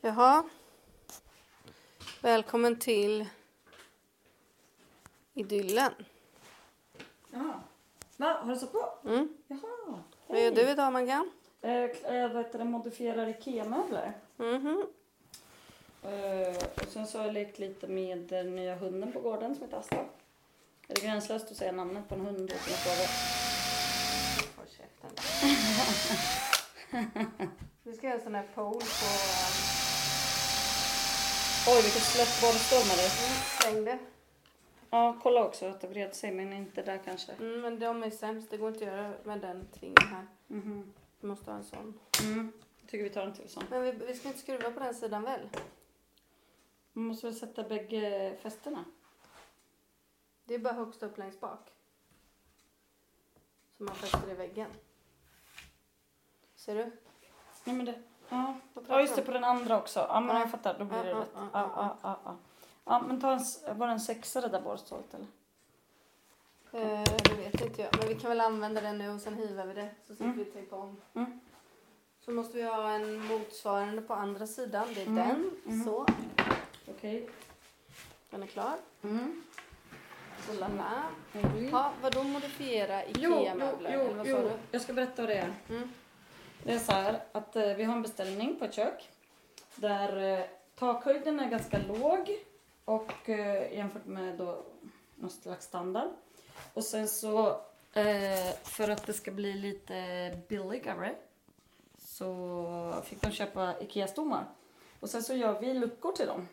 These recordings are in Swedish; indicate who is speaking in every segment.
Speaker 1: Jaha. Välkommen till Idyllen.
Speaker 2: Jaha. Va? Har du satt på?
Speaker 1: Mm.
Speaker 2: Jaha.
Speaker 1: Vad gör du idag Maggan?
Speaker 2: Eh, k- eh, vad heter det? Modifierar IKEA-möbler.
Speaker 1: Mhm.
Speaker 2: Eh, och sen så har jag lekt lite med den nya hunden på gården som heter Asta. Är det gränslöst att säga namnet på en hund utan att fråga?
Speaker 1: Håll käften. Vi ska göra en sån här pool på...
Speaker 2: Oj, vilket slött borrstorm det är.
Speaker 1: Mm, släng det.
Speaker 2: Ja, kolla också att det vred sig, men inte där kanske.
Speaker 1: Mm, men de är sämst. Det går inte att göra med den tingen här.
Speaker 2: Mhm.
Speaker 1: Vi måste ha en sån.
Speaker 2: Mm. Jag tycker vi tar en till sån.
Speaker 1: Men vi, vi ska inte skruva på den sidan väl?
Speaker 2: Man måste väl sätta bägge fästena?
Speaker 1: Det är bara högst upp längst bak. Som man fäster i väggen. Ser du?
Speaker 2: Nej, men det... Ja.
Speaker 1: Vad pratar
Speaker 2: Ja just
Speaker 1: du
Speaker 2: det,
Speaker 1: om?
Speaker 2: på den andra också. Ja men
Speaker 1: Ja.
Speaker 2: jag fattar, då blir det
Speaker 1: Ja,
Speaker 2: rätt.
Speaker 1: ja,
Speaker 2: Ja,
Speaker 1: ja,
Speaker 2: ja, ja, ja. ja men ta en, s- var det en sexa det där borrstålet eller?
Speaker 1: Eh, det vet inte jag. Men vi kan väl använda den nu och sen hivar vi det. Så slipper
Speaker 2: Mm.
Speaker 1: vi tejpa om.
Speaker 2: Mm.
Speaker 1: Så måste vi ha en motsvarande på andra sidan. Det är
Speaker 2: Mm.
Speaker 1: den.
Speaker 2: Mm.
Speaker 1: Så.
Speaker 2: Okej.
Speaker 1: Den är klar.
Speaker 2: Mm.
Speaker 1: Så la la.
Speaker 2: Mm.
Speaker 1: Ja, vadå modifiera
Speaker 2: Jo, jo,
Speaker 1: IKEA-möbler? Eller
Speaker 2: jo,
Speaker 1: vad sa
Speaker 2: jo,
Speaker 1: du?
Speaker 2: jag ska berätta vad det är.
Speaker 1: Mm.
Speaker 2: Det är så här att eh, vi har en beställning på ett kök där eh, takhöjden är ganska låg och eh, jämfört med då någon slags standard. Och sen så eh, för att det ska bli lite billigare så fick de köpa IKEA-stommar och sen så gör vi luckor till dem.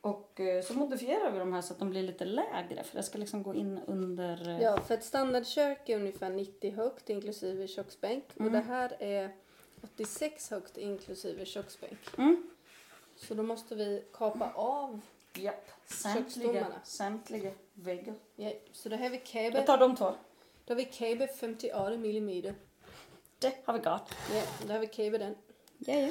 Speaker 2: Och eh, så modifierar vi de här så att de blir lite lägre för det ska liksom gå in under... eh,
Speaker 1: Ja, för ett standardkök är ungefär 90 högt inklusive köksbänk. Och
Speaker 2: Mm.
Speaker 1: det här är 86 högt inklusive köksbänk.
Speaker 2: Mm.
Speaker 1: Så då måste vi kapa av.
Speaker 2: Japp. Samtliga,
Speaker 1: Köksstommarna.
Speaker 2: samtliga väggar.
Speaker 1: Ja, så det här är
Speaker 2: Jag
Speaker 1: KB.
Speaker 2: tar de två.
Speaker 1: Då har vi KB 58 millimeter.
Speaker 2: Det har vi gott.
Speaker 1: Ja, då har vi KB den.
Speaker 2: Ja, ja.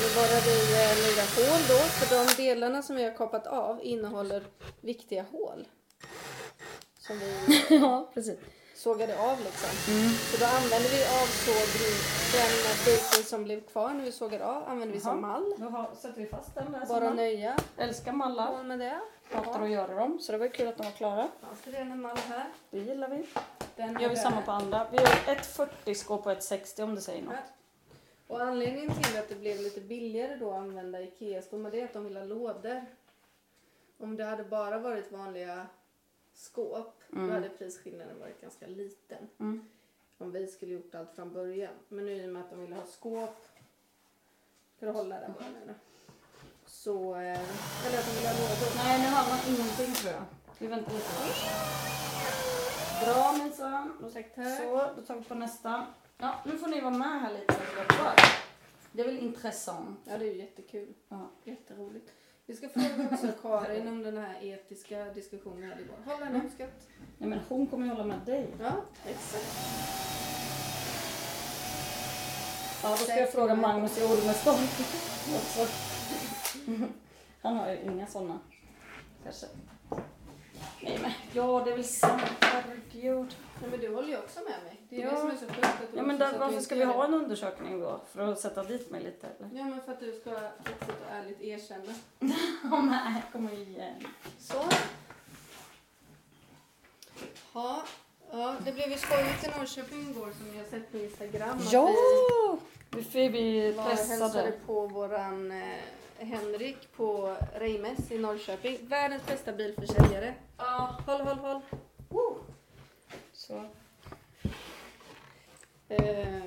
Speaker 1: Nu borrar vi eh, nya hål då, för de delarna som vi har kapat av innehåller viktiga hål. Som vi
Speaker 2: ja, precis.
Speaker 1: sågade av liksom.
Speaker 2: Mm.
Speaker 1: Så då använder vi avsågning, den biten som blev kvar när vi sågade av, använder vi som
Speaker 2: Jaha. Alltså
Speaker 1: mall.
Speaker 2: Då har, sätter vi fast den där. som
Speaker 1: Bara
Speaker 2: man
Speaker 1: nöja
Speaker 2: Älskar mallar.
Speaker 1: hål med det.
Speaker 2: Hatar att göra dem. Så det var ju kul att de var klara.
Speaker 1: Fanns det redan en mall här?
Speaker 2: Det gillar vi.
Speaker 1: Den
Speaker 2: gör
Speaker 1: är
Speaker 2: vi samma
Speaker 1: där.
Speaker 2: på andra. Vi gör ett 40 skåp och ett 60 om det säger något.
Speaker 1: Ja. Och anledningen till att det blev lite billigare då att använda IKEA-stommar det är att de vill ha lådor. Om det hade bara varit vanliga skåp
Speaker 2: Mm.
Speaker 1: då hade prisskillnaden varit ganska liten.
Speaker 2: Mm.
Speaker 1: Om vi skulle gjort allt från början. Men nu i och med att de ville ha skåp för att hålla där bara nu då. Så, eh, eller att de ville ha lådor.
Speaker 2: Nej, nu har man ingenting tror jag. Vi väntar lite. Bra minsann.
Speaker 1: Ursäkta här.
Speaker 2: Så, då tar vi på nästa. Ja, nu får ni vara med här lite. Det är väl intressant.
Speaker 1: Ja det är ju jättekul.
Speaker 2: Ja.
Speaker 1: Jätteroligt. Vi ska fråga också Karin om den här etiska diskussionen vi hade igår. Håll
Speaker 2: Mm.
Speaker 1: den uppskatt.
Speaker 2: Nej, men hon kommer ju hålla med dig.
Speaker 1: Ja, exakt.
Speaker 2: Ja, då ska jag fråga Magnus i Ormestad också. Han har ju inga sådana. Kanske. Nej men, ja det är väl sant. Herregud.
Speaker 1: Nej, men du håller ju också med mig. Det är
Speaker 2: Ja.
Speaker 1: det som är så sjukt. att du
Speaker 2: Ja, men
Speaker 1: också
Speaker 2: där,
Speaker 1: säger
Speaker 2: varför
Speaker 1: att
Speaker 2: ska
Speaker 1: du
Speaker 2: vi
Speaker 1: inte
Speaker 2: ha
Speaker 1: gör
Speaker 2: en undersökning då? För att sätta dit mig lite eller?
Speaker 1: det? Ja, men för att du ska riktigt och ärligt erkänna.
Speaker 2: Ja men, kom igen.
Speaker 1: Så. Ja, ja det blev ju skojigt i Norrköping igår som ni har sett på Instagram. att
Speaker 2: Ja! Vi, vi, vi
Speaker 1: Vi var och hälsade
Speaker 2: pressade.
Speaker 1: på våran eh, Henrik på Reimes i Norrköping. Världens bästa bilförsäljare.
Speaker 2: Ja.
Speaker 1: Håll, håll, håll.
Speaker 2: Så.
Speaker 1: Eh,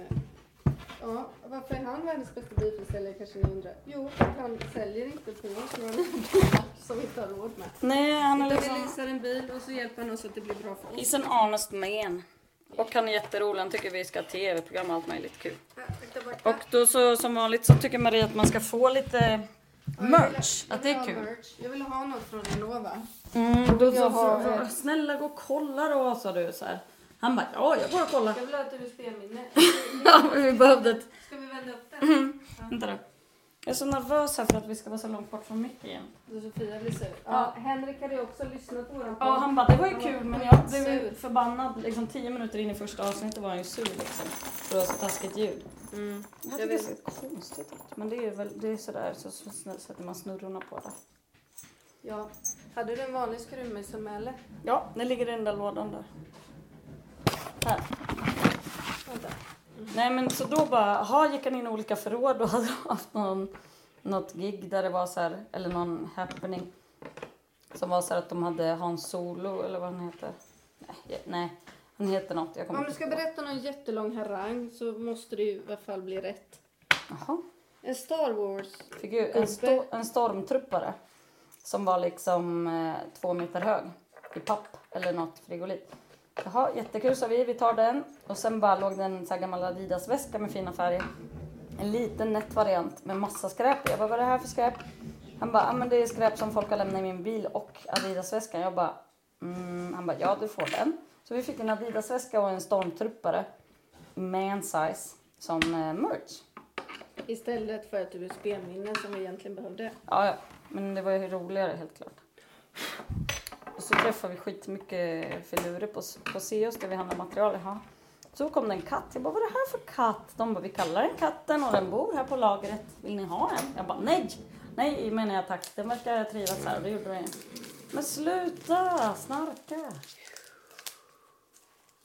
Speaker 1: ja, varför är han världens bästa bilförsäljare kanske ni undrar? Jo, för att han säljer inte på oss några nya bilar som vi inte har råd med.
Speaker 2: Nej, han är
Speaker 1: Utan
Speaker 2: liksom...
Speaker 1: vi leasar en bil och så hjälper han oss att det blir bra för oss.
Speaker 2: He's an honest man. Och han är jätterolig. Han tycker vi ska ha tv-program och allt möjligt kul. Och då så som vanligt så tycker Maria att man ska få lite merch. Att det är kul.
Speaker 1: Jag vill ha något från Renova.
Speaker 2: Mm, då
Speaker 1: Jag
Speaker 2: så,
Speaker 1: har
Speaker 2: så,
Speaker 1: ett.
Speaker 2: snälla gå och kolla då sa du så här. Han bara ja jag går och kollar.
Speaker 1: Jag vill ha ett USB-minne.
Speaker 2: Ja, men vi behövde ett... Mm.
Speaker 1: Ska vi vända upp den?
Speaker 2: Vänta då. Jag är så nervös här för att vi ska vara så långt bort från micken igen.
Speaker 1: Så Sofia blir sur.
Speaker 2: Ja.
Speaker 1: Ja. Henrik hade ju också lyssnat på våran
Speaker 2: Ja, han bara, det var ju kul men jag blev ju
Speaker 1: Sur.
Speaker 2: förbannad. Liksom tio minuter in i första avsnittet var han ju sur liksom. För det var så taskigt ljud.
Speaker 1: Mm.
Speaker 2: Jag
Speaker 1: Jag
Speaker 2: tycker det
Speaker 1: vet.
Speaker 2: ser konstigt ut. Men det är väl, det är sådär så så snö- sätter man snurrorna på det.
Speaker 1: Ja. Hade du en vanlig skruvmejsel eller?
Speaker 2: Ja, det ligger i den där lådan där. Här.
Speaker 1: Vänta.
Speaker 2: Nej men så då bara, aha, gick han in i olika förråd och hade haft någon, något gig där det var så här, eller någon happening. Som var så här att de hade Hans Solo eller vad han heter. Nej, jag- nej han heter något. Jag kommer
Speaker 1: Om du ska
Speaker 2: på.
Speaker 1: berätta någon jättelång harang så måste det ju i alla fall bli rätt.
Speaker 2: Jaha.
Speaker 1: En Star Wars.
Speaker 2: Figur, en, sto, en stormtruppare som var liksom eh, två meter hög i papp eller något frigolit. Jaha, jättekul sa vi, vi tar den. Och sen bara låg det en så här gammal Adidas-väska med fina färger. En liten nätt variant med massa skräp i. Jag bara, vad är det här för skräp? Han bara, ah, men det är skräp som folk har lämnat i min bil och Adidas-väskan. Jag bara, mm. han bara, ja du får den. Så vi fick en Adidas-väska och en stormtruppare i man size som eh, merch.
Speaker 1: Istället för att du är spelminnen som vi egentligen behövde.
Speaker 2: Ja, ja. men det var ju roligare helt klart. Och så träffade vi skitmycket filurer på, på Seos där vi handlade material. Jaha. Så kom det en katt. Jag bara, vad är det här för katt? De bara, vi kallar den katten och den bor här på lagret. Vill ni ha en? Jag bara, nej! Nej menar jag tack. Den verkar trivas här. Det gjorde den ju. Men sluta snarka!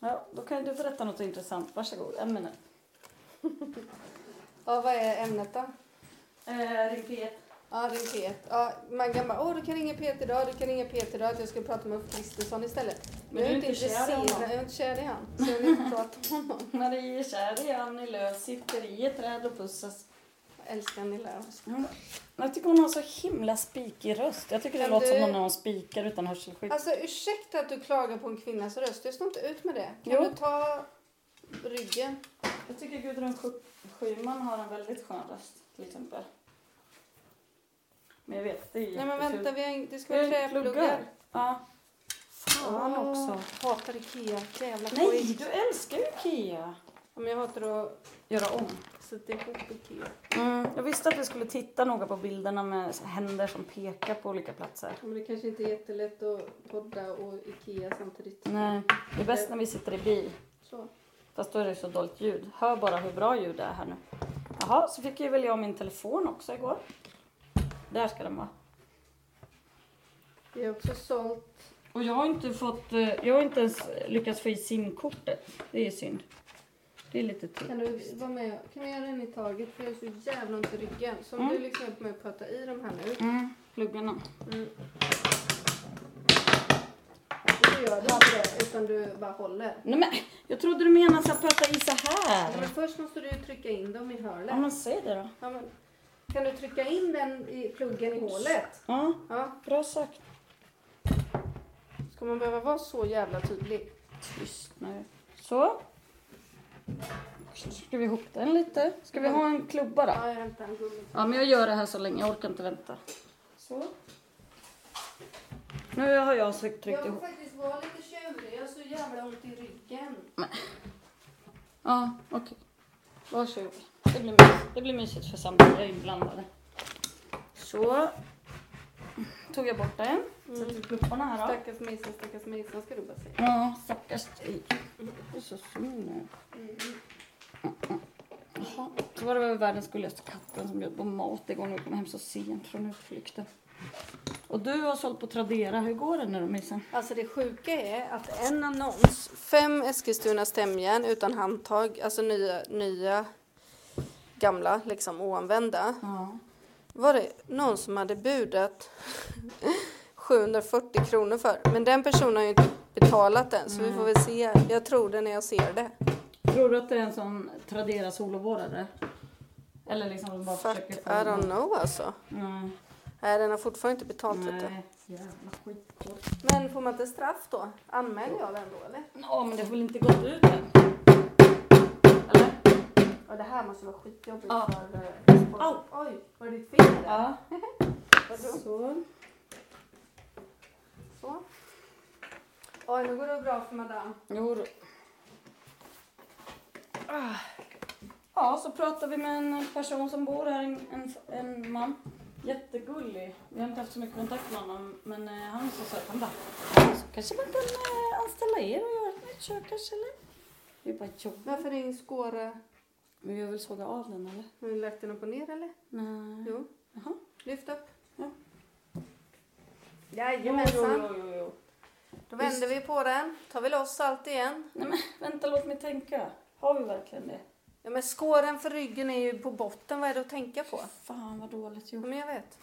Speaker 2: Ja, då kan ju du berätta något intressant. Varsågod, en minut.
Speaker 1: Ja, vad är ämnet då?
Speaker 2: Eh, ring P1.
Speaker 1: Ja, ring Pet. Ja, Maggan bara, åh du kan ringa Pet idag, du kan ringa Pet idag att jag ska prata med Ulf Kristersson istället.
Speaker 2: Men du är inte kär
Speaker 1: intresserad,
Speaker 2: i honom.
Speaker 1: Jag är inte kär i honom, så jag vill inte prata med honom.
Speaker 2: Marie är kär i Annie Lööf, sitter i ett träd och pussas.
Speaker 1: Jag älskar Nilla Öst.
Speaker 2: Mm. Jag tycker hon har så himla spikig röst. Jag tycker det
Speaker 1: Men
Speaker 2: låter som
Speaker 1: du-
Speaker 2: någon när hon spikar utan hörselskydd.
Speaker 1: Alltså ursäkta att du klagar på en kvinnas röst, jag står inte ut med det. Kan
Speaker 2: Jo.
Speaker 1: du ta ryggen?
Speaker 2: Jag tycker Gudrun Schy- Schyman har en väldigt skön röst till exempel. Men jag vet, det är
Speaker 1: Nej men
Speaker 2: jättefult.
Speaker 1: vänta, vi har, in- det ska
Speaker 2: Vi har
Speaker 1: vara
Speaker 2: ju
Speaker 1: träpluggar.
Speaker 2: Ja. Fan
Speaker 1: Åh,
Speaker 2: också.
Speaker 1: Hatar Ikea, jävla
Speaker 2: Nej,
Speaker 1: skit.
Speaker 2: du älskar ju Ikea.
Speaker 1: Ja, Men jag hatar att
Speaker 2: Göra om.
Speaker 1: sätta ihop Ikea.
Speaker 2: Mm. Jag visste att vi skulle titta noga på bilderna med händer som pekar på olika platser.
Speaker 1: Ja, Men det kanske inte är jättelätt att podda och Ikea samtidigt.
Speaker 2: Nej, det är bäst när vi sitter i bil.
Speaker 1: Så.
Speaker 2: Fast då är det så dåligt ljud. Hör bara hur bra ljud det är här nu. Jaha, så fick ju väl jag min telefon också igår. Där ska den vara.
Speaker 1: Vi har också sålt
Speaker 2: Och jag har inte fått, eh, jag har inte ens lyckats få i SIM-kortet. Det är ju synd. Det är lite
Speaker 1: Kan
Speaker 2: tur.
Speaker 1: du vara med? Kan vi göra en i taget? För jag har så jävla ont i ryggen. Så om
Speaker 2: Mm.
Speaker 1: du liksom hjälper mig att prata i de här nu.
Speaker 2: Mm, pluggarna.
Speaker 1: Mm. Och Du gör du inte det, utan du bara håller.
Speaker 2: Nej men, jag trodde du menade att jag pratade i så
Speaker 1: Ja, Men
Speaker 2: här.
Speaker 1: först måste du ju trycka in dem i
Speaker 2: Ja
Speaker 1: hörnet.
Speaker 2: men säg det då.
Speaker 1: Ja, men, kan du trycka in den i pluggen i hålet?
Speaker 2: Ja,
Speaker 1: Ja.
Speaker 2: bra sagt.
Speaker 1: Ska man behöva vara så jävla tydlig?
Speaker 2: Tyst nu. Så. Så Ska vi ihop den lite? Ska vi ha en klubba då?
Speaker 1: Ja, jag hämtar en gummi.
Speaker 2: Ja, men jag gör det här så länge. Jag orkar inte vänta. Så. Nu har jag sökt tryckt
Speaker 1: Jag vill
Speaker 2: ihop.
Speaker 1: faktiskt vara lite tjurig. Jag har så jävla ont i ryggen.
Speaker 2: Ja, okej. Varsågod. Det blir, mys- det blir mysigt för samtliga inblandade. Så. Mm. Tog jag bort den. Sätter klubbarna här då.
Speaker 1: Mm. Stackars Mason, stackars Mason ska du bara säga.
Speaker 2: Ja, stackars dig. Du är så sur nu.
Speaker 1: Mm.
Speaker 2: Jaha, så var det väl världens gulligaste katten som bjöd på mat igår när vi kom hem så sent från utflykten. Och du har sålt på Tradera. Hur går det nu då, Mysen?
Speaker 1: Alltså det sjuka är att en annons, fem Eskilstunas stämjärn utan handtag, alltså nya, nya gamla, liksom oanvända.
Speaker 2: Ja.
Speaker 1: Var det någon som hade budat 740 kronor för? Men den personen har ju inte betalat den, så vi får väl se. Jag tror det när jag ser det.
Speaker 2: Tror du att det är en sån Tradera solovårdare? Eller liksom de bara
Speaker 1: Fuck, I
Speaker 2: försöker få...
Speaker 1: don't know alltså.
Speaker 2: Nej,
Speaker 1: Nej, den har fortfarande inte betalt vet du.
Speaker 2: nej, jävla skitgott.
Speaker 1: Men får man inte straff då? Anmäler jag den då eller?
Speaker 2: Ja, men det har väl inte gått ut än? Eller?
Speaker 1: Ja, det här måste vara skitjobbigt
Speaker 2: Ja.
Speaker 1: för... eh,
Speaker 2: Au.
Speaker 1: Oj, var det ditt finger där?
Speaker 2: Ja.
Speaker 1: Vadå?
Speaker 2: Så.
Speaker 1: Så. Oj, nu går det bra för madame.
Speaker 2: Jo. då. Ah. Ja, så pratar vi med en person som bor här, en, en, en man. Jättegullig. Vi har inte haft så mycket kontakt med honom, men eh, han sa så här, han bara, så kanske man kan eh, anställa er och göra ett nytt kök kanske eller? Vi bara, jo.
Speaker 1: Varför är din skåra...
Speaker 2: Men vi har väl sågat av den eller?
Speaker 1: Har ni lagt den upp och ner eller?
Speaker 2: Nej.
Speaker 1: Jo.
Speaker 2: Jaha.
Speaker 1: Lyft upp.
Speaker 2: Ja.
Speaker 1: Jajamensan.
Speaker 2: jo, jo, jo.
Speaker 1: Då vänder vi på den. Tar vi loss allt igen.
Speaker 2: Nej men vänta, låt mig tänka. Har vi verkligen det?
Speaker 1: Ja, men skåren för ryggen är ju på botten. Vad är det att tänka på?
Speaker 2: Fan vad dåligt
Speaker 1: Ja,
Speaker 2: gjort.
Speaker 1: men jag vet.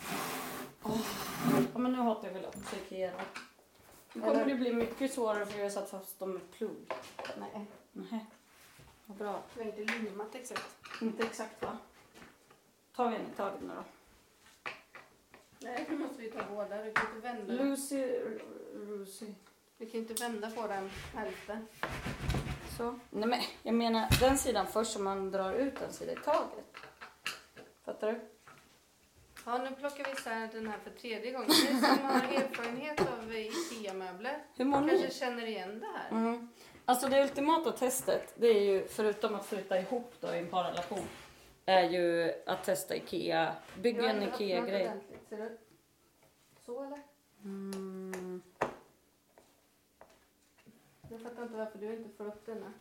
Speaker 2: Ja men nu hatar jag väl att trycka igenom. Nu kommer
Speaker 1: Eller-
Speaker 2: det bli mycket svårare för jag har satt fast dem med plog.
Speaker 1: Nej,
Speaker 2: Nej. Vad bra.
Speaker 1: det är inte limmat exakt.
Speaker 2: Inte exakt va? Tar vi en i taget nu då.
Speaker 1: Nej, nu måste vi ta båda. Du kan inte vända,
Speaker 2: Lucy, R- Lucy.
Speaker 1: du Mm. kan inte vända på den hälften.
Speaker 2: Så. Nej men jag menar den sidan först som man drar ut den sidan i taget. Fattar du?
Speaker 1: Ja, nu plockar vi isär den här för tredje gången. Ni som har erfarenhet av IKEA-möbler
Speaker 2: Hur mår
Speaker 1: kanske
Speaker 2: ni?
Speaker 1: känner igen det här.
Speaker 2: Mm. Alltså det ultimata testet, det är ju förutom att flytta ihop då i en parrelation, är ju att testa IKEA. Bygg
Speaker 1: Jag har
Speaker 2: en
Speaker 1: inte öppnat
Speaker 2: IKEA-grej.
Speaker 1: ordentligt. Ser du? Så eller?
Speaker 2: Mm.
Speaker 1: Jag fattar inte varför du inte får upp denna.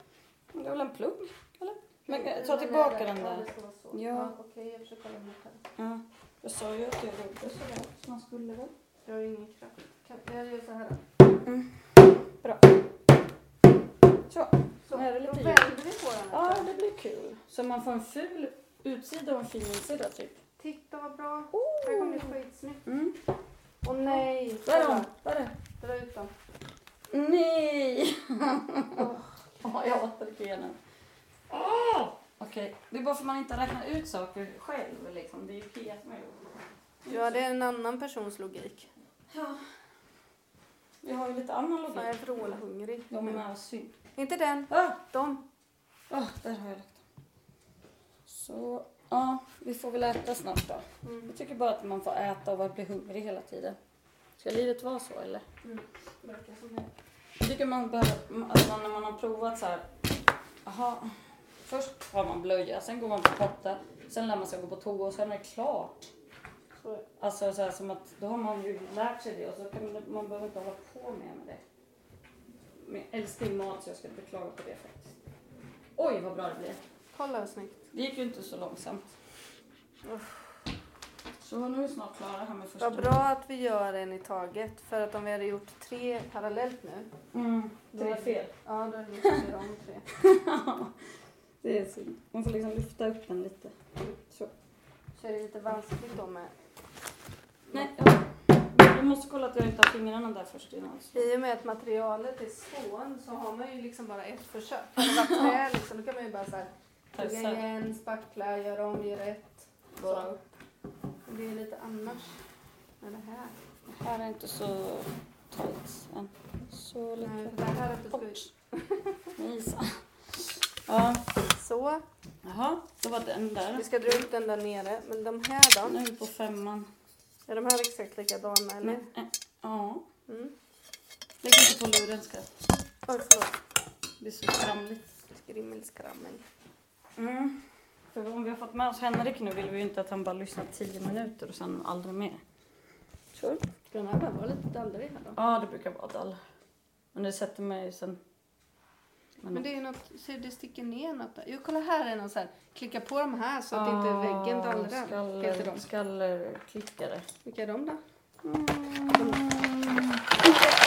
Speaker 2: Det är väl en plugg? Eller? Men
Speaker 1: Den
Speaker 2: jag tar
Speaker 1: är
Speaker 2: tillbaka den
Speaker 1: Ja,
Speaker 2: där.
Speaker 1: det ska vara så.
Speaker 2: Ja.
Speaker 1: Ja, Okej, jag försöker hålla emot här.
Speaker 2: Ja. Jag sa ju att jag gjorde sådär, så man skulle väl.
Speaker 1: Jag har ingen kraft. Kan jag gör så här då.
Speaker 2: Så.
Speaker 1: Mm. Så,
Speaker 2: Nu är det lite
Speaker 1: då
Speaker 2: ljud.
Speaker 1: vänder vi på den. här.
Speaker 2: Ja, det blir kul. Så man får en ful utsida och en fin insida typ.
Speaker 1: Titta vad bra. Här kommer det
Speaker 2: Oh.
Speaker 1: skitsnyggt.
Speaker 2: Mm.
Speaker 1: Åh nej!
Speaker 2: Där är hon!
Speaker 1: Kolla,
Speaker 2: Där är
Speaker 1: Dra ut dem.
Speaker 2: Nej! Åh, jag hatar grenen. Ah! Okej, det är bara för att man inte räknar ut saker själv. Liksom. Det är ju Pia som har gjort det.
Speaker 1: Ja, det är en annan persons logik.
Speaker 2: Ja. Vi har ju lite annan
Speaker 1: Fan, jag
Speaker 2: logik.
Speaker 1: är vrålhungrig.
Speaker 2: De är med oss syn.
Speaker 1: Inte den,
Speaker 2: Ah!
Speaker 1: de.
Speaker 2: Ah, där har jag lagt dem. Så, ja, vi får väl äta snart då.
Speaker 1: Mm.
Speaker 2: Jag tycker bara att man får äta och bara bli hungrig hela tiden. Ska livet vara så eller?
Speaker 1: mm. Verkar som det.
Speaker 2: Jag tycker man behöver, att man, när man har provat så här, aha, först har man blöja, sen går man på potta, sen lär man sig gå på toa och sen är det klart.
Speaker 1: Så är det.
Speaker 2: Alltså så här, som att då har man ju lärt sig det och så kan man, man behöver inte hålla på mer med det. Men jag älskar ju mat så jag ska inte klaga på det faktiskt. Oj vad bra det blev.
Speaker 1: Kolla vad snyggt.
Speaker 2: Det gick ju inte så långsamt.
Speaker 1: Uff.
Speaker 2: Så nu är vi snart klara här med första.
Speaker 1: Vad bra att vi gör en i taget. För att om vi hade gjort tre parallellt nu.
Speaker 2: Mm, det var fel.
Speaker 1: Ja, då hade vi gjort om tre.
Speaker 2: det är synd. Man får liksom lyfta upp den lite. Så.
Speaker 1: Så är det lite vanskligt då med.
Speaker 2: Nej, jag, jag måste kolla att jag inte har fingrarna där först innan.
Speaker 1: I och med att materialet är spån så har man ju liksom bara ett försök. Om det var trä liksom, då kan man ju bara så här, tugga
Speaker 2: Testa.
Speaker 1: igen, spackla, göra om, göra rätt.
Speaker 2: Bara
Speaker 1: Så. Det är lite annars med det här.
Speaker 2: Det här är inte så tajt än.
Speaker 1: Nej,
Speaker 2: Så lite
Speaker 1: för det här att du ska...
Speaker 2: bort. Nisa. Ja,
Speaker 1: Så,
Speaker 2: jaha. Det var den
Speaker 1: vi
Speaker 2: där.
Speaker 1: ska dra ut den där nere. Men de här
Speaker 2: Nu
Speaker 1: då?
Speaker 2: är vi på femman.
Speaker 1: Är de här exakt likadana eller?
Speaker 2: Men, eh, ja.
Speaker 1: Mm.
Speaker 2: Lägg inte på luren ska det
Speaker 1: Oj, förlåt.
Speaker 2: blir så skramligt.
Speaker 1: Skrimmelskrammel.
Speaker 2: Mm. För om vi har fått med oss Henrik nu vill vi ju inte att han bara lyssnar tio minuter och sen aldrig mer. Sure.
Speaker 1: Ska den här vara lite dallrig här då?
Speaker 2: Ja, det brukar vara dall. Men det sätter mig ju sen.
Speaker 1: Men det är något, ser du, det sticker ner något där. Jo, kolla här är någon så här. Klicka på de här så att inte väggen dallrar. Heter de.
Speaker 2: Ah, Skaller, skallerklickare.
Speaker 1: Vilka är de då?
Speaker 2: Mm.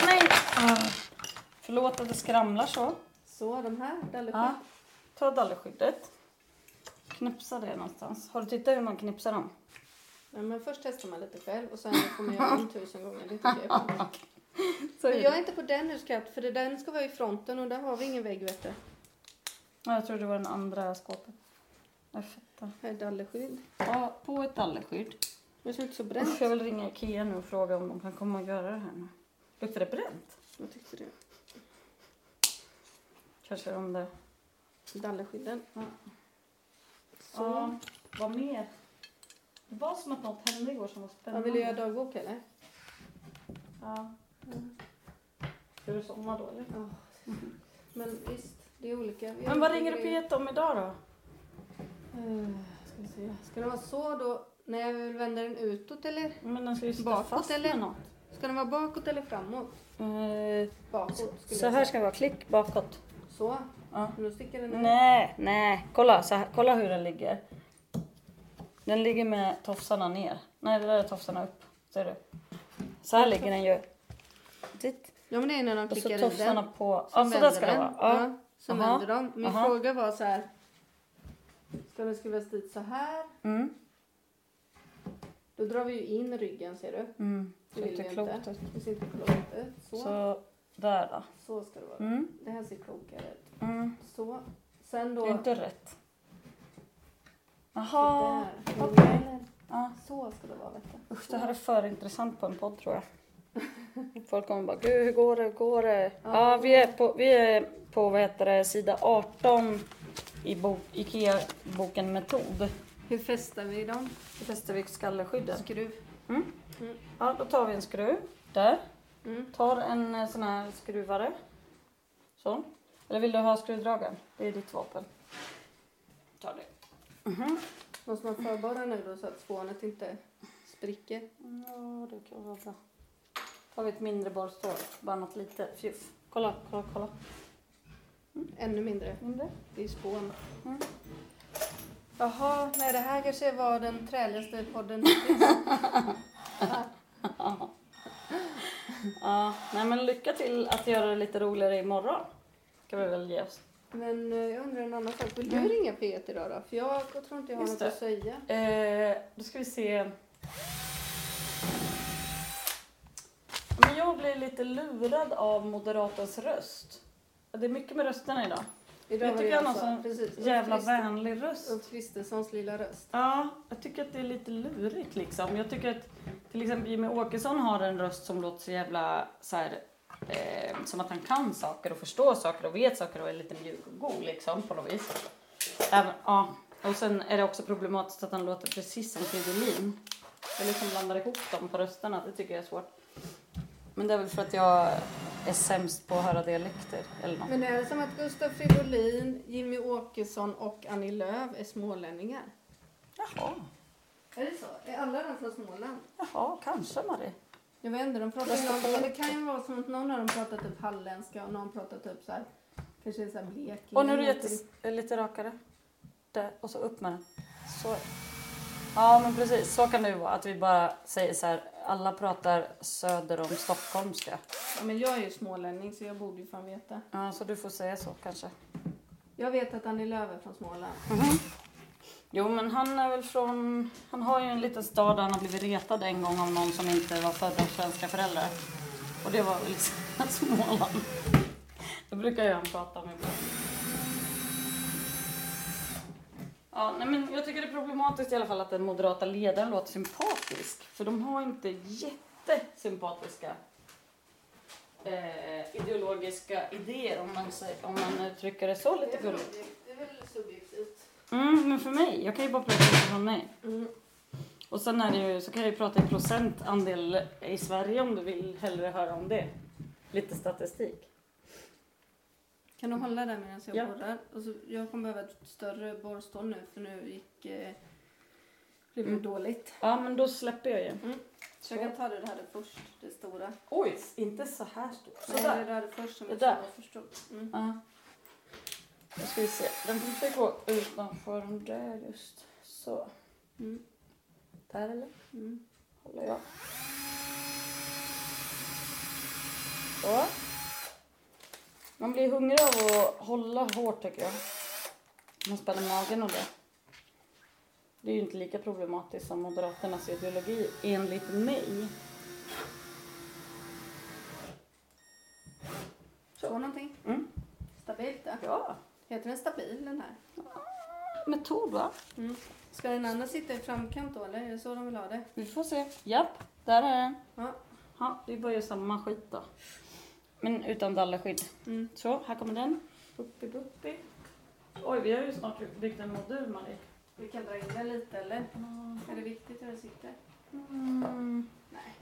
Speaker 2: Nej! Ah. Förlåt att det skramlar så.
Speaker 1: Så, de här
Speaker 2: Ja.
Speaker 1: dallerskydd.
Speaker 2: Ta dallerskyddet. Knipsa det någonstans. Har du tittat hur man knipsar dem?
Speaker 1: Ja. Men först testar man lite själv och sen får man göra om tusen gånger. Det tycker jag är
Speaker 2: Så
Speaker 1: Men jag är inte på den nu skatt, för det- den ska vara i fronten och där har vi ingen vägg vet du.
Speaker 2: Ja, jag tror det var den andra skåpet. Jag fattar.
Speaker 1: Här är dallerskydd.
Speaker 2: Ja, på ett dallerskydd.
Speaker 1: Det ser ut så bränt.
Speaker 2: Usch, jag vill ringa Ikea nu och fråga om de kan komma och göra det här nu. Luktar det bränt?
Speaker 1: Vad tyckte du?
Speaker 2: Kanske de där.
Speaker 1: Dallerskydden.
Speaker 2: Ja.
Speaker 1: Så.
Speaker 2: Ja, vad mer? Det var som att något hände igår som var
Speaker 1: Ja,
Speaker 2: spännande.
Speaker 1: vill du göra dagbok eller?
Speaker 2: Ja.
Speaker 1: Mm.
Speaker 2: Ska du somna då eller?
Speaker 1: Men visst, det är olika. Vi
Speaker 2: Men vad
Speaker 1: har
Speaker 2: ringer du
Speaker 1: olika
Speaker 2: P1 om idag då?
Speaker 1: Eh, Ska, vi se. ska den vara så då? Nej, jag vill vända den utåt eller?
Speaker 2: Men den ska ju sitta
Speaker 1: Bakåt,
Speaker 2: fast
Speaker 1: eller?
Speaker 2: med något.
Speaker 1: Ska den vara bakåt eller framåt?
Speaker 2: Eh,
Speaker 1: Bakåt skulle jag
Speaker 3: Så här ska det vara, klick bakåt.
Speaker 1: säga. Så?
Speaker 2: Ja.
Speaker 1: Men då sticker den ut.
Speaker 2: nej, nej. Kolla, så här, kolla hur den ligger. Den ligger med tofsarna ner. Nej, det där är tofsarna upp. Ser du? Så här ligger den ju. Titt.
Speaker 1: Ja men det är när de
Speaker 2: Och så
Speaker 1: klickar i den.
Speaker 2: tofsarna på... Ja, så där
Speaker 1: vänder
Speaker 2: ska det
Speaker 1: den.
Speaker 2: vara.
Speaker 1: Ja.
Speaker 2: Ja.
Speaker 1: så
Speaker 2: Aha.
Speaker 1: vänder de. Min
Speaker 2: Aha.
Speaker 1: fråga var så här. Ska den skruvas dit så här?
Speaker 2: Mm.
Speaker 1: Då drar vi ju in ryggen ser du.
Speaker 2: Mm.
Speaker 1: Det
Speaker 2: Så
Speaker 1: vill
Speaker 2: inte
Speaker 1: vi
Speaker 2: klokt
Speaker 1: inte.
Speaker 2: ut.
Speaker 1: Det ser inte klokt ut. Så. så.
Speaker 2: Så där då.
Speaker 1: ska det vara.
Speaker 2: Mm.
Speaker 1: Det här ser klokare ut.
Speaker 2: Mm.
Speaker 1: Så. Sen
Speaker 2: Det
Speaker 1: då.
Speaker 2: är inte rätt. Jaha.
Speaker 1: Sådär.
Speaker 2: okej.
Speaker 1: Eller,
Speaker 2: Ja.
Speaker 1: Så ska det vara vet du.
Speaker 2: Usch, det här är för intressant på en podd tror jag. Folk kommer bara, gud hur går det, hur går det? Ja, vi är på, vi är på vad heter det, sida 18 i bok, IKEA-boken Metod.
Speaker 1: Hur fästar vi dem?
Speaker 2: Vi testar vi skallerskydden.
Speaker 1: Skruv.
Speaker 2: Ja, då tar vi en skruv där.
Speaker 1: Mm.
Speaker 2: Tar en eh, sån här skruvare. Så. Eller vill du ha skruvdragaren? Det är ditt vapen. Ta det. Mhm.
Speaker 1: Måste man förborra nu då så att spånet inte spricker?
Speaker 2: Ja, det kan vara bra. Tar vi ett mindre borrstål, bara något litet fjuff. Kolla, kolla, kolla.
Speaker 1: Ännu mindre.
Speaker 2: Mindre.
Speaker 1: Det är ju spån.
Speaker 2: Mm.
Speaker 1: Jaha, nej det här kanske var den träligaste podden hittills.
Speaker 2: Ja, nej men lycka till att göra det lite roligare imorgon. Ska vi väl ge oss.
Speaker 1: Men eh, jag undrar en annan sak. Vill
Speaker 2: Mm.
Speaker 1: du ringa P1 idag då? För jag tror inte jag har
Speaker 2: Just
Speaker 1: något
Speaker 2: det.
Speaker 1: att säga.
Speaker 2: Eh, då ska vi se. Men jag blir lite lurad av moderatorns röst. Det är mycket med rösterna idag.
Speaker 1: Idag
Speaker 2: Jag
Speaker 1: var
Speaker 2: tycker
Speaker 1: det
Speaker 2: han har
Speaker 1: alltså-
Speaker 2: sån
Speaker 1: precis, Ulf
Speaker 2: Jävla
Speaker 1: Krister-
Speaker 2: vänlig röst.
Speaker 1: Ulf Kristerssons lilla röst.
Speaker 2: Ja, jag tycker att det är lite lurigt liksom. Jag tycker att till exempel Jimmy Åkesson har en röst som låter så jävla så här, eh, som att han kan saker och förstår saker och vet saker och är lite mjuk och god liksom på något vis. Även, ja. Och sen är det också problematiskt att han låter precis som Fridolin. Jag liksom blandar ihop dem på rösterna, det tycker jag är svårt. Men det är väl för att jag är sämst på att höra dialekter eller något.
Speaker 1: Men är det som att Gustav Fridolin, Jimmy Åkesson och Annie Lööf är smålänningar?
Speaker 2: Jaha,
Speaker 1: Är det så? Är alla de från Småland?
Speaker 2: jaha, kanske Marie.
Speaker 1: Jag vet inte, de pratar
Speaker 2: Jag
Speaker 1: ju
Speaker 2: ska
Speaker 1: någon,
Speaker 2: kolla.
Speaker 1: men det kan ju vara som att någon av dem pratar typ halländska och någon pratar typ så här, kanske så här Blekinge.
Speaker 2: Och nu är det jättes- eh, lite rakare. Där, och så upp med den. Så. Ja men precis, så kan det ju vara. Att vi bara säger så här, alla pratar söder om stockholmska.
Speaker 1: Ja, men jag är ju smålänning så jag borde ju fan veta.
Speaker 2: Ja, så du får säga så kanske.
Speaker 1: Jag vet att Annie Lööf är från Småland.
Speaker 2: Mm-hmm. Jo men han är väl från, han har ju en liten stad där han har blivit retad en gång av någon som inte var född av svenska föräldrar. Och det var väl liksom Småland. Det brukar ju han prata om ibland. Ja, nej men jag tycker det är problematiskt i alla fall att den moderata ledaren låter sympatisk. För de har inte jättesympatiska eh, ideologiska idéer om man, säger, om man uttrycker det så lite gulligt.
Speaker 1: det är väl subjektivt.
Speaker 2: Mm, men för mig. Jag kan ju bara prata utifrån mig.
Speaker 1: Mm.
Speaker 2: Och sen är det ju, så kan jag ju prata i procentandel i Sverige om du vill hellre höra om det. Lite statistik.
Speaker 1: Kan du hålla där medan jag
Speaker 2: Ja.
Speaker 1: borrar? Och så, jag kommer behöva ett större borrstål nu för nu gick... Eh, blev det
Speaker 2: Mm.
Speaker 1: dåligt.
Speaker 2: Ja, men då släpper jag ju.
Speaker 1: Så jag kan ta det där först, det stora.
Speaker 2: Oj, inte så här stort.
Speaker 1: Nej,
Speaker 2: Sådär.
Speaker 1: det där först som
Speaker 2: Det
Speaker 1: jag
Speaker 2: där.
Speaker 1: var först. upp. Mm.
Speaker 2: Ja. Nu ska vi se. Den får inte gå utanför den där just. Så.
Speaker 1: Mm.
Speaker 2: Där eller?
Speaker 1: Mm.
Speaker 2: Håller jag. Så. Man blir hungrig av att hålla hårt tycker jag. Man spänner magen och det. Det är ju inte lika problematiskt som Moderaternas ideologi enligt mig.
Speaker 1: Så någonting?
Speaker 2: Mm.
Speaker 1: Stabilt då.
Speaker 2: Ja.
Speaker 1: Heter den stabil den här? Mm.
Speaker 2: Metod va?
Speaker 1: Ska den andra sitta i framkant då eller? Är det så de vill ha det?
Speaker 2: Vi får se. Japp, där är den.
Speaker 1: Ja.
Speaker 2: Ja, det är bara samma skit då. Men utan dallerskydd.
Speaker 1: Mm.
Speaker 2: Så, här kommer den. Buppi buppi. Oj, vi har ju snart byggt en modul Marie.
Speaker 1: Vi kan dra in den lite eller? Är det viktigt hur den sitter?
Speaker 2: Mm.
Speaker 1: Nej.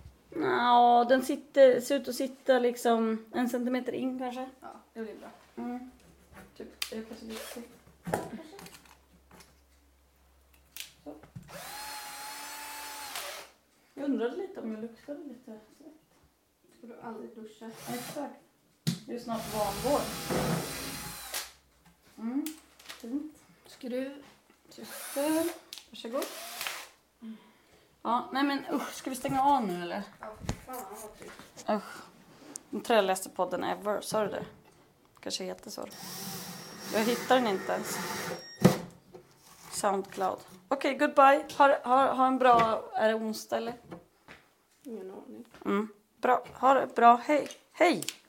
Speaker 2: Ja, den sitter, ser ut att sitta liksom en centimeter in kanske.
Speaker 1: Ja, det blir bra.
Speaker 2: Mm. Typ, jag kanske lite till. undrade lite om jag luktade lite svett.
Speaker 1: Ska du aldrig duscha?
Speaker 2: Ja, Exakt. Det är ju snart vanvård. Mm, fint.
Speaker 1: Skruv.
Speaker 2: Syster, varsågod. Ja, nej men usch, ska vi stänga av nu eller?
Speaker 1: Ja, fy fan vad tryggt.
Speaker 2: Usch. Den trögligaste podden ever, sa du det? Kanske heter så. Jag hittar den inte ens. Soundcloud. Okej, goodbye. Ha, ha, ha en bra... Är det onsdag eller?
Speaker 1: Ingen aning.
Speaker 2: Mm. Bra. Ha det bra. Hej. Hej!